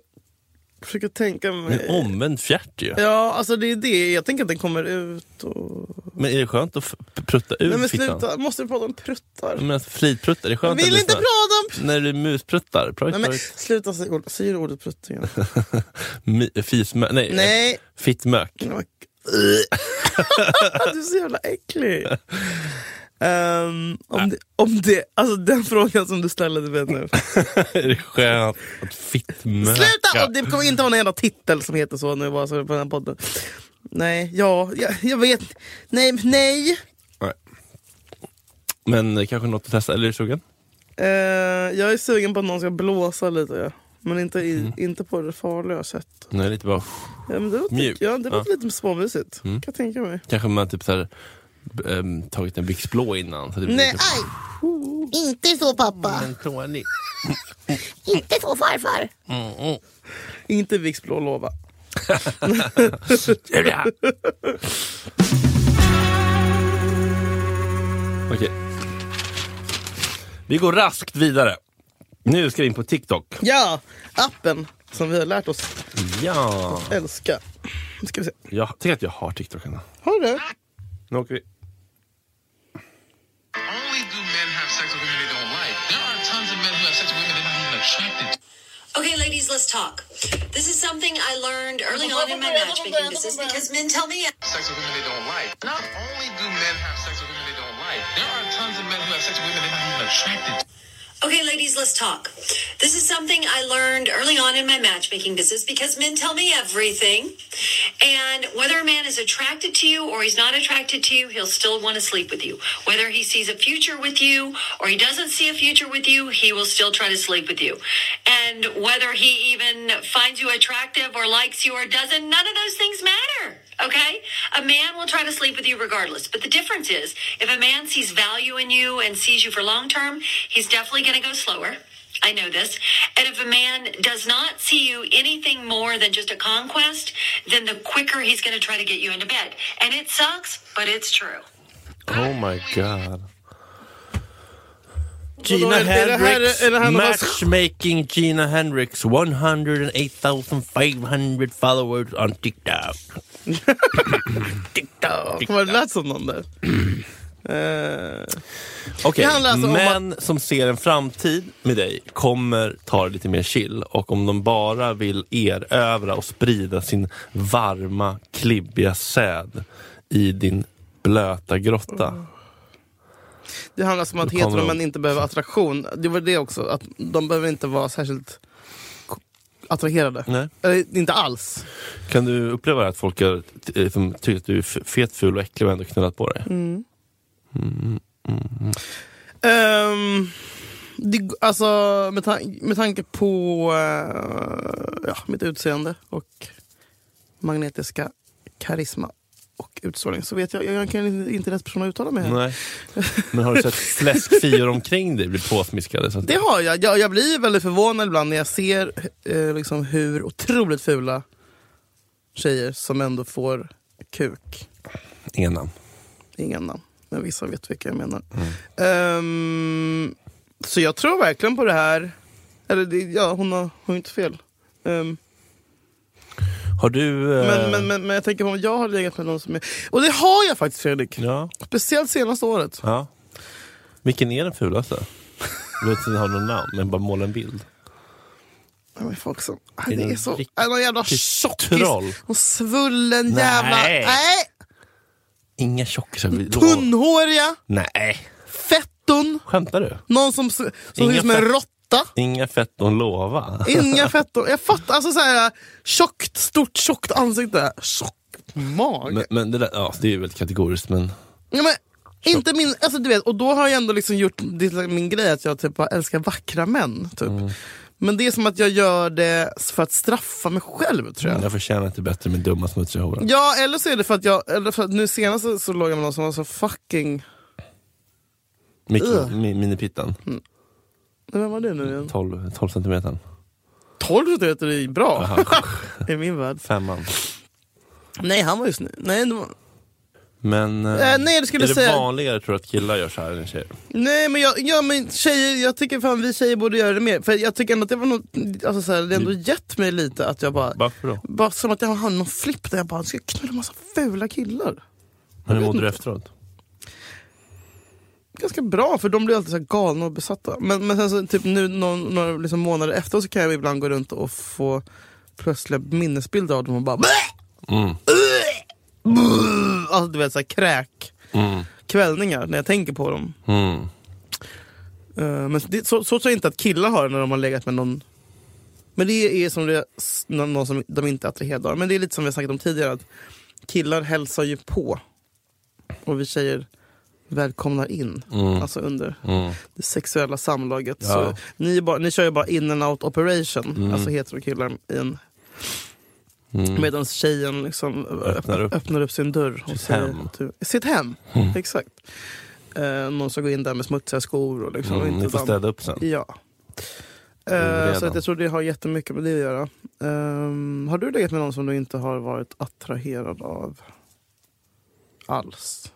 B: försöka tänka
A: Men
B: mig.
A: omvänd fjärt ju.
B: Ja, alltså det är det. Jag tänker att den kommer ut och...
A: Men är det skönt att f- prutta liksom? ur
B: Nej men
A: fittan?
B: sluta, måste vi prata om pruttar?
A: Men alltså, fridpruttar, är det
B: Jag
A: skönt att
B: vill
A: bli
B: inte
A: sån här-
B: prata om pruttar!
A: När du muspruttar? Pröjt,
B: Nej, men sluta säga ordet, säger du ordet prutt igen.
A: pröjt. Fismö... Nej.
B: Nej,
A: Fittmök.
B: du är så jävla äcklig. Ehm, om, det, om det, alltså den frågan som du ställde till mig nu.
A: är det skönt att fittmöka?
B: Sluta! Och det kommer inte vara någon jävla titel som heter så nu bara så på den här podden. Nej, ja, jag, jag vet. Nej, nej.
A: Nej. Men eh, kanske något att testa? Eller är du sugen?
B: Eh, jag är sugen på att någon ska blåsa lite. Ja. Men inte, i, inte på det farliga sättet.
A: Nej, lite bara...
B: Ja, men det låter,
A: Mjukt.
B: Ja, det låter
A: Ja.
B: lite småmysigt. Kan jag tänka mig.
A: Kanske man typ så här, b- ehm, tagit en Vicks blå innan. Så det blir
B: Nej, ah!
A: lite-
B: aj!
D: Inte så pappa.
A: En tålig.
D: Inte så farfar.
B: Inte Vicks blå låva.
A: Okej. Vi går raskt vidare. Nu ska vi in på TikTok.
B: Ja, appen som vi har lärt oss
A: Ja.
B: älska. Nu ska vi se.
A: Jag tänker att jag har TikTok ändå.
B: Har du?
A: Nu åker vi.
E: Only do men have sex with women they don't like. There are tons of men who have sex with women they're not even attracted to.
F: Okay, ladies, let's talk. This is something I learned early on in my matchmaking business because men tell me
E: Sex with women they don't like. Not only do men have sex with women they don't like. There are tons of men who have sex with women they're not even attracted to.
F: Okay, ladies, let's talk. This is something I learned early on in my matchmaking business because men tell me everything. And whether a man is attracted to you or he's not attracted to you, he'll still want to sleep with you. Whether he sees a future with you or he doesn't see a future with you, he will still try to sleep with you. And whether he even finds you attractive or likes you or doesn't, none of those things matter. Okay? A man will try to sleep with you regardless. But the difference is, if a man sees value in you and sees you for long term, he's definitely going to go slower. I know this. And if a man does not see you anything more than just a conquest, then the quicker he's going to try to get you into bed. And it sucks, but it's true.
A: Oh my god.
B: Vadå,
A: Gina
B: är det- är det här-
A: Hendrix,
B: är det här någon-
A: matchmaking Gina Hendrix, 108,500 followers on TikTok.
B: TikTok. Vad det lät som någon där. Eh,
A: Okej,
B: Det handlar alltså om
A: män som ser en framtid med dig kommer ta det lite mer chill och om de bara vill erövra och sprida sin varma, klibbiga säd i din blöta grotta.
B: det handlar som att
A: Då kommer
B: heteromän
A: de.
B: inte behöver attraktion. Det var det också, att de behöver inte vara särskilt k- attraherade.
A: Nej.
B: Eller inte alls.
A: Kan du uppleva det att folk är, eh, som tycker att du är f- fet, ful och äcklig och ändå knullat på dig?
B: Ehm, det, alltså, med, tan- med tanke på eh, ja, mitt utseende och magnetiska karisma och utstrålning så vet jag, jag, jag kan inte- inte rätt person att uttala mig här.
A: Nej. Men har du sett fläskfior omkring dig bli påsmiskade? Så att,
B: Det har jag. jag. Jag blir väldigt förvånad ibland när jag ser eh, liksom hur otroligt fula tjejer som ändå får kuk.
A: Inga namn.
B: Inga namn, men vissa vet vilka jag menar.
A: Mm.
B: Ehm, så jag tror verkligen på det här. Eller det, ja, hon har, hon har inte fel. Ehm,
A: Har du... eh,
B: men, men, men, men jag tänker på om jag har legat med någon som är... Och det har jag faktiskt Fredrik!
A: Ja.
B: Speciellt senaste året.
A: ja. Vilken är den fulaste? Du vet inte har någon namn, men bara måla en bild.
B: Ja, men folk som...
A: Är
B: Det
A: det
B: är
A: en
B: så...
A: riktig
B: Äh, Någon jävla tjockis!
A: troll?
B: Någon svullen jävla...
A: Nej.
B: Nej!
A: Inga tjockisar. vi-
B: Tunnhåriga,
A: Nej.
B: fetton,
A: Skämtar du?
B: någon som, som ser
A: Inga
B: ut som en
A: fett-
B: råtta.
A: Inga fett att lova.
B: Inga fetton. Jag fattar, alltså såhär tjockt, stort tjockt ansikte. Tjock mage.
A: Men, men det, där, ja, det är ju väldigt kategoriskt, men...
B: Ja, men, inte min, alltså du vet, och då har jag ändå liksom gjort det till min grej att jag typ bara älskar vackra män. Typ.
A: Mm.
B: Men det är som att jag gör det för att straffa mig själv tror jag.
A: Jag förtjänar inte bättre med dumma smutsiga horor.
B: Ja, eller så är det för att jag, eller för att nu senast så- så låg jag med någon som var så fucking,
A: Mikro-
B: Ugh.
A: mi- Minipittan.
B: vem var det nu igen?
A: 12, 12 centimeter.
B: 12 centimeter är bra i min värld.
A: Femman.
B: Nej, han var ju snygg. Nej, det var...
A: Men... eh,
B: Eh, nej, jag skulle
A: är det
B: säga-
A: vanligare tror du att killar gör så här än tjejer?
B: Nej men, jag, ja, men tjejer, jag tycker fan vi tjejer borde göra det mer. För jag tycker ändå att det var något, alltså, så här, det har ändå gett mig lite att jag bara...
A: Varför då?
B: Bara som att jag har någon flipp där jag bara ska knulla massa fula killar.
A: Men hur mådde du efteråt?
B: Ganska bra för de blir alltid så här galna och besatta. Men, men sen så, typ nu någon, några liksom månader efter så kan jag ibland gå runt och få plötsliga minnesbilder av dem och bara...
A: Mm.
B: Alltså du vet såhär kräk.
A: Mm.
B: Kvällningar när jag tänker på dem.
A: Mm.
B: Eh, men det, så, så tror jag inte att killar har det när de har legat med någon. Men det är som det, s- någon någon som de inte är attraherade av. Men det är lite som vi har snackat om tidigare. Att killar hälsar ju på. Och vi tjejer välkomnar in.
A: Mm.
B: Alltså under
A: Mm.
B: det sexuella samlaget.
A: Ja.
B: Så ni, är bara, ni kör ju bara in and out operation. Alltså heterokillar i en...
A: Mm.
B: Medan tjejen liksom öppnar,
A: Öppnar
B: upp.
A: upp.
B: öppnar upp sin dörr. Och
A: Sitt
B: säger
A: hem. Mm.
B: till- sitt hem. Exakt. Eh, någon ska gå in där med smutsiga skor och liksom
A: Mm,
B: inte
A: ni får
B: damm.
A: städa upp sen.
B: Ja.
A: Redan.
B: Eh, så att jag tror det har jättemycket med det att göra. Ehm, har du legat med någon som du inte har varit attraherad av alls?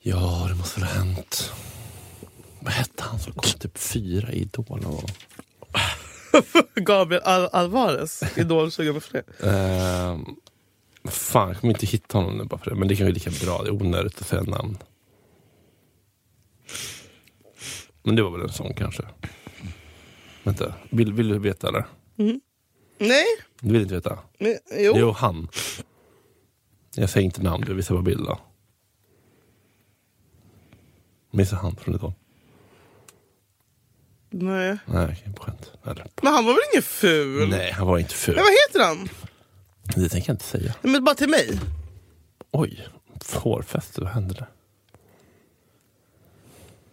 A: Ja, det måste väl ha hänt. Vad hette han som kom typ fyra i Idol? någon gång?
B: Gabriel Al- Alvarez, Idol 2003.
A: Ehm, fan, jag kommer inte hitta honom nu bara för det. Men det kan ju lika bra. Det är onödigt att säga namn. Men det var väl en sån kanske. Vänta, vill, vill du veta eller?
B: Nej,
A: Du vill inte veta?
B: men, jo.
A: Jo, han. Jag säger inte namn, jag visar bara bild då. Missade han från Idol?
B: Nej.
A: Nej, okej, på skämt. Eller, på...
B: Men han var väl ingen ful?
A: Nej, han var inte ful.
B: Men vad heter han?
A: Det tänker jag inte säga.
B: Nej, Men bara till mig.
A: Oj, hårfäste, vad hände där?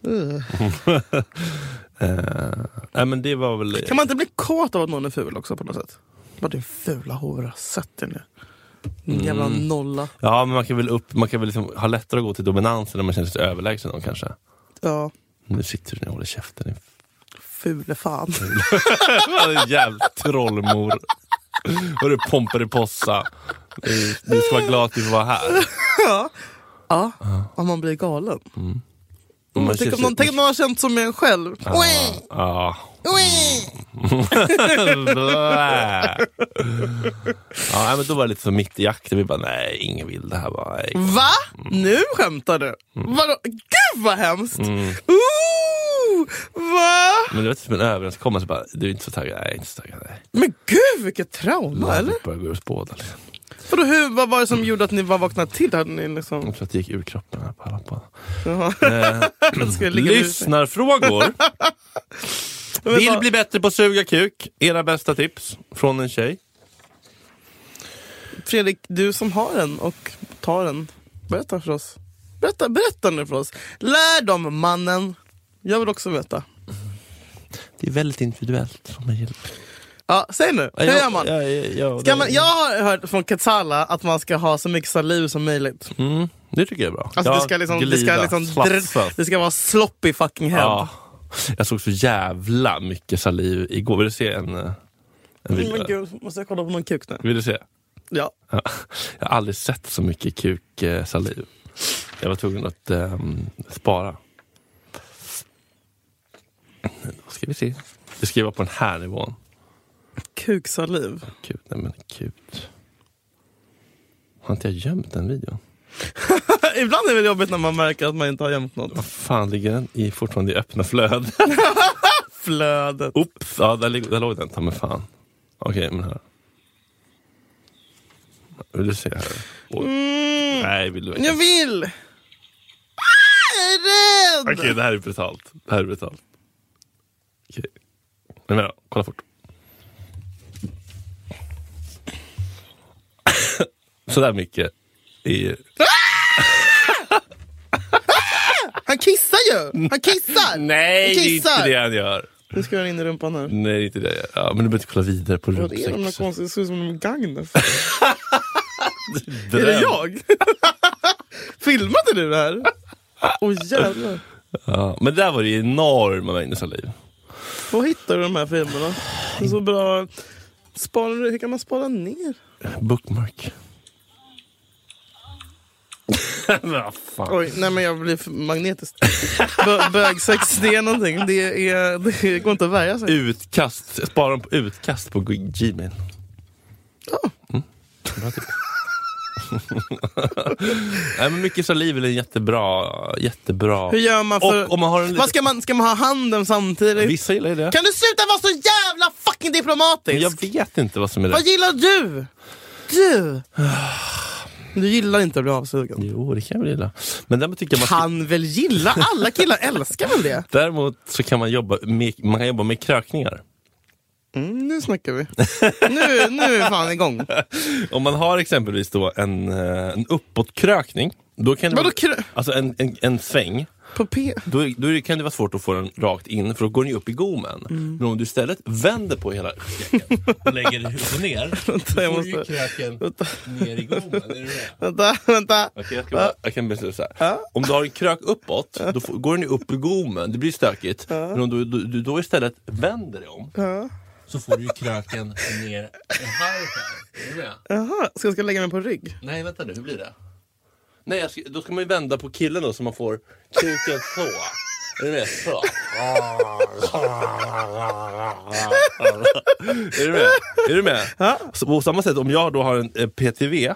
A: Eh, nej men det var väl...
B: Kan man inte bli kåt av att någon är ful också på något sätt? Vad din fula hora, sätt dig ner. Din jävla nolla.
A: Ja, men man kan väl, upp, man kan väl liksom ha lättare att gå till dominansen när man känner sig överlägsen någon kanske.
B: Ja,
A: Nu sitter du ner och håller käften. din f-
B: fule fan.
A: Vad en Jävla trollmor. Hörru Pomperipossa. Eh, Du ska vara glad att du får vara
B: Mm,
A: här.
B: Ja, om man blir galen.
A: Och man
B: Tänk
A: känner
B: om,
A: sig-
B: någon, tänk om någon har känt som en själv.
A: Ah.
B: Oj,
A: Ja.
B: oj.
A: Blä. ja, nej, men då var det lite så mitt i jakten. Vi bara, nej, ingen vill det här. Bara, nej.
B: Va? Nu skämtar du?
A: Mm.
B: Vadå? Gud vad hemskt! Ooh, va?
A: Men det var typ som en överenskommelse. Bara, du är inte så taggad? Nej, jag är inte så taggad. Nej.
B: Men gud vilket trauma eller?
A: Landet började gå ur spåda. Liksom.
B: Vadå, hur, vad var det som gjorde att ni var vaknade till? Hade ni liksom...
A: Jag tror att det gick ur kroppen. Här på alla på. Eh.
B: Jaha. Ska jag ligga ner?
A: Lyssnarfrågor.
B: Men
A: Vill
B: vad-
A: bli bättre på att suga kuk. Era bästa tips från en tjej.
B: Fredrik, du som har den och tar den. Berätta för oss. Berätta, berätta nu för oss. Lär dem mannen. Jag vill också veta.
A: Det är väldigt individuellt. Som jag gillar.
B: Ja, säg nu. Hur gör man?
A: Jag, jag, jag,
B: Ska man? Jag har hört från Katsala att man ska ha så mycket saliv som möjligt.
A: Mm, det tycker jag är bra.
B: Alltså,
A: ja,
B: det, ska liksom, det, ska
A: glida,
B: liksom
A: slafsa.
B: dr- det ska vara sloppy fucking head.
A: Ja. Jag såg så jävla mycket saliv igår. Vill du se en, eh, en
B: Mm, Men
A: video?
B: gud, måste jag kolla på någon kuk nu?
A: Vill du se?
B: Ja.
A: Ja. Jag har aldrig sett så mycket kuksaliv. Jag var tvungen att ehm, spara. Vad ska vi se? Det ska ju vara på den här nivån.
B: Kuksaliv.
A: Kut, nej men kut. Har inte jag gömt den videon?
B: Ibland är det jobbigt när man märker att man inte har gömt något.
A: Vad fan ligger den i, fortfarande i öppna flöden?
B: Flödet.
A: Oops, ja där, lig- där låg den. Ta mig fan. Okej, men här. Vill du se här? Oj. Nej, vill du
B: Mm. Jag
A: inte.
B: vill! Ah, jag är rädd!
A: Okej, det här är brutalt. Det här är brutalt. Okej. Men vänta, kolla fort. Sådär mycket. I,
B: Han kissar ju! Han
A: nej,
B: kissar! han
A: det är inte
B: kissar!
A: det Mm, han gör.
B: Nu ska jag in i rumpan här.
A: Nej, det är inte det jag gör. Ja, men du behöver inte kolla vidare på
B: Vad är de där
A: rumsex.
B: konstiga? Det ser ut som de är Gagnef.
A: Dröm.
B: Är det jag? Filmade du det här? Åh jävlar.
A: Ja, men där var det ju enorma mängder saliv.
B: Var hittar du de här filmerna? Det är så bra. Sparar du, hur kan man spara ner?
A: Bookmark. Men vad fan.
B: Oj, nej men jag blir för magnetisk. Bö- Bögsex, det är någonting. Det, är, det går inte att värja sig.
A: Utkast. Spara dem på utkast på G- Gmail. Mm. Bra tips. Nej, men mycket saliv är en jättebra... jättebra.
B: Hur gör man för...
A: Och om man har en liten-
B: Vad ska, man, ska man ha handen samtidigt?
A: Vissa gillar ju det.
B: Kan du sluta vara så jävla fucking diplomatisk?
A: Men jag vet inte vad som är
B: Vad
A: rätt.
B: gillar du? Du! Du gillar inte att bli avsugen.
A: Jo, det kan jag väl gilla. Men däremot tycker jag man ska
B: Kan väl gilla? Alla killar älskar väl det?
A: Däremot så kan man jobba med, man kan jobba med krökningar.
B: Mm, nu snackar vi. Nu, nu är vi fan igång.
A: Om man har exempelvis då en, eh, en uppåtkrökning, då kan det
B: Vadå
A: vara-
B: krö-
A: alltså en, en, en sväng,
B: På P.
A: då, då är det- kan det vara svårt att få den rakt in för då går den ju upp i gommen.
B: Mm.
A: Men om du istället vänder på hela kröken och lägger huvudet ner,
B: Vänta, jag
A: då får du ju
B: måste-
A: kröken
B: Vänta,
A: ner i gommen. Är du med?
B: vänta. vänta.
A: Okej, jag, ska bara, jag kan beskriva så här. Om du har en krök uppåt, då får, går den ju upp i gommen. Det blir stökigt. Men om du, du, du då istället vänder dig om, så får du ju kröken ner en halv här. Är du med?
B: Jaha, så jag ska lägga mig på rygg?
A: Nej, vänta nu. Hur blir det? Nej, jag ska, då ska man ju vända på killen då så man får kuken så. Är du med? Så. Är du med? Är du med? Så på samma sätt, om jag då har en eh, PTV,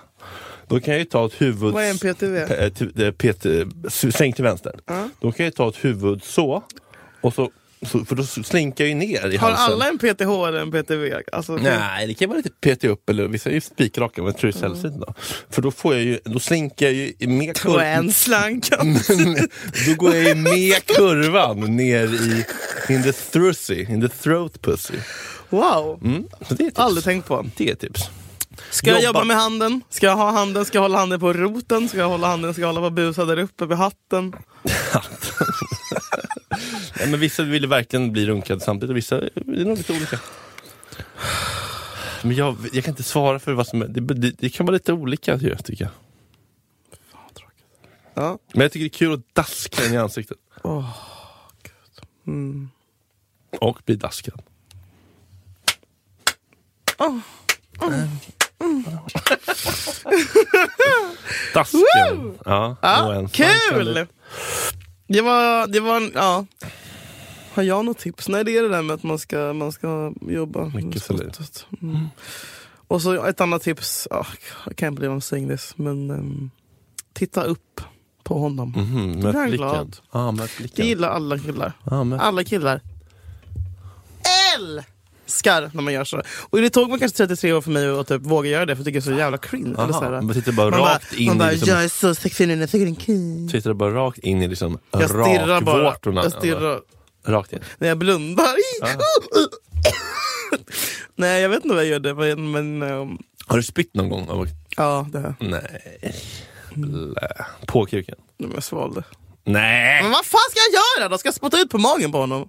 A: då kan jag ju ta ett huvud...
B: Vad är en PTV?
A: P- eh, t- eh, PT, s- sänk till vänster. Då kan jag ju ta ett huvud så, och så Så, för då slinkar jag ju ner i
B: Har
A: halsen.
B: alla en PTH eller en PTV? Alltså,
A: Nej, det kan vara lite petig upp, eller vissa är ju spikraka, men jag tror det är sällsynt. Då. För då, får jag ju, då slinkar jag ju med
B: Och
A: kurvan.
B: en slankan.
A: då går jag ju med kurvan ner i in the thrussy, in the throat pussy.
B: Wow!
A: Mm. Så det är ett tips.
B: Aldrig tänkt på.
A: Det är ett tips.
B: Ska jag
A: Jobba.
B: jobba med handen? Ska jag ha handen? Ska jag hålla handen på roten? Ska jag hålla handen? Ska jag hålla på busa där uppe vid hatten?
A: Nej, men vissa vill verkligen bli runkade samtidigt och vissa det är nog lite olika. Men jag, jag kan inte svara för vad som är... Det, det, det kan vara lite olika ju, tycker jag.
B: Ja.
A: Men jag tycker det är kul att daska den i ansiktet. Och bli daskad. Dasken. Ja, och
B: Ja,
A: en sank
B: Ah, kul!
A: eller-
B: Det var, det var en, ja. Har jag något tips? Nej, det är det där med att man ska, man ska jobba. med
A: Mycket saliv.
B: skottet. Mm. Och så ett annat tips. Oh, I can't believe I'm saying this. Men ehm, titta upp på honom.
A: Mhm,
B: blir
A: Möt
B: han
A: blicken.
B: glad.
A: Ja, möt
B: Det
A: blicken.
B: gillar Ah. alla killar.
A: Ja, möt-
B: Alla killar älskar när man gör så. Och det tog mig kanske 33 år för mig att typ våga göra det för jag tycker det är så jävla cringe.
A: Aha,
B: Eller så här.
A: man sitter bara rakt in
B: man
A: i
B: bara,
A: liksom-
B: Jag är så sexig nu när jag tycker det är kul.
A: Tittar du bara rakt in i liksom
B: Jag stirrar bara.
A: rakvårtorna?
B: Jag stirrar.
A: Rakt in.
B: När jag blundar. Nej, jag vet inte vad jag gjorde. Men, men ehm,
A: Har du spytt någon gång? av-
B: ja, det här.
A: Nej. Blä. På kuken?
B: Men Jag svalde.
A: Nej!
B: Mm. Men vad fan ska jag göra då? Ska jag spotta ut på magen på honom?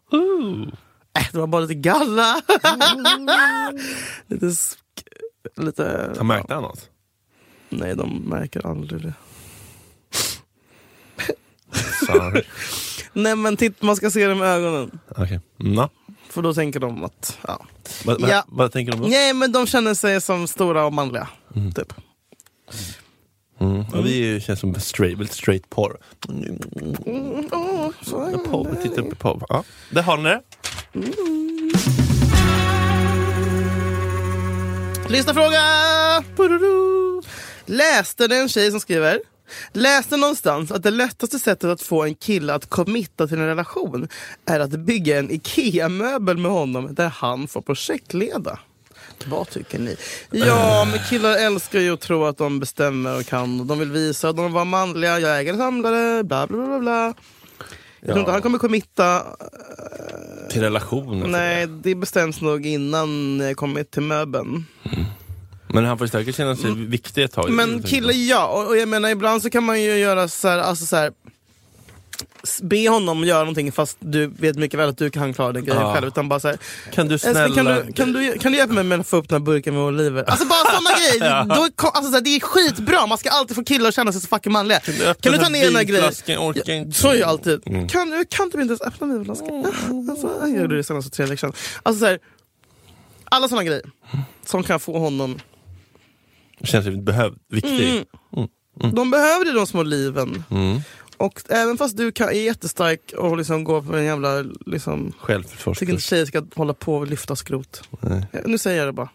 B: Äh, det var bara lite galla. lite... Sk- lite
A: Jag märkte han något?
B: Nej, de märker aldrig det.
A: Sorry.
B: Nej, men titt, man ska se dem i ögonen.
A: Okej. Nå.
B: För då tänker de att... Ja.
A: Vad- vad-
B: Ja.
A: Vad tänker du om det?
B: Nej, men de känner sig som stora och manliga. Typ.
A: Mm. Ja, vi är ju- känns som straight, väldigt straight porr.
B: Åh, så-
A: Porr, Titta upp på porr. Ja. Där har ni det.
B: Lyssnarfråga! Pududu. Läste det är en tjej som skriver. Läste någonstans att det lättaste sättet att få en kille att committa till en relation är att bygga en IKEA-möbel med honom där han får projektleda. Vad tycker ni? Ja, men killar älskar ju att tro att de bestämmer och kan. Och de vill visa att de var manliga, jag äger en samlare, bla bla bla, bla bla. Jag tror inte han kommer committa
A: Till relationen.
B: Nej, det bestäms nog innan jag kommit till möbeln.
A: Men han får säkert känna sig viktig ett tag.
B: Mm. Men killar, ja. Och, och jag menar, ibland så kan man ju göra så här, alltså så här s- Be honom göra någonting fast du vet mycket väl att du kan klara den grejen
A: Ja.
B: själv. Utan bara så här,
A: Kan du snälla...
B: "Älskling, kan, du, kan, du, kan du hjälpa mig med att få upp den här burken med oliver? Alltså bara sådana grejer. Då, kom- alltså så här, det är skitbra, man ska alltid få killar att känna sig så fucking manliga. Kan du,
A: öppna den
B: ta
A: här
B: ner den här grejen?
A: vinflaskan? Jag orkar inte. Mm.
B: Så är ju alltid. Kan, du, kan du inte ens öppna vinflaskan? Alltså, jag gjorde det senast för tre veckor sedan. Alltså så här, alla sådana grejer som kan få honom
A: Känner sig behövd, viktig.
B: Mm. De behöver de små liven. Och även fast du kan, är jättestark och liksom går på en jävla... Liksom, tycker inte
A: Självförsvarskurs.
B: tjejer ska hålla på och lyfta skrot. Eh, Nu säger jag det bara.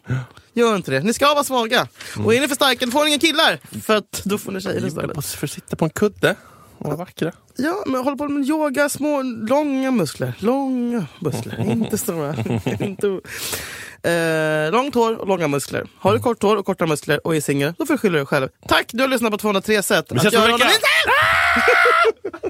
B: Gör inte det. Ni ska vara svaga. Och är ni för starka då får ni inga killar. För att då får ni tjejer istället.
A: På, för att sitta på en kudde och vara vackra.
B: Ja, men håll på med yoga, små, långa muskler. Långa muskler, inte stora. inte... Eh, långt hår och långa muskler. Har du kort hår och korta muskler och är singel, då får du skylla dig själv. Tack, du har lyssnat på 203 sätt
A: ses om en vecka!
B: honom-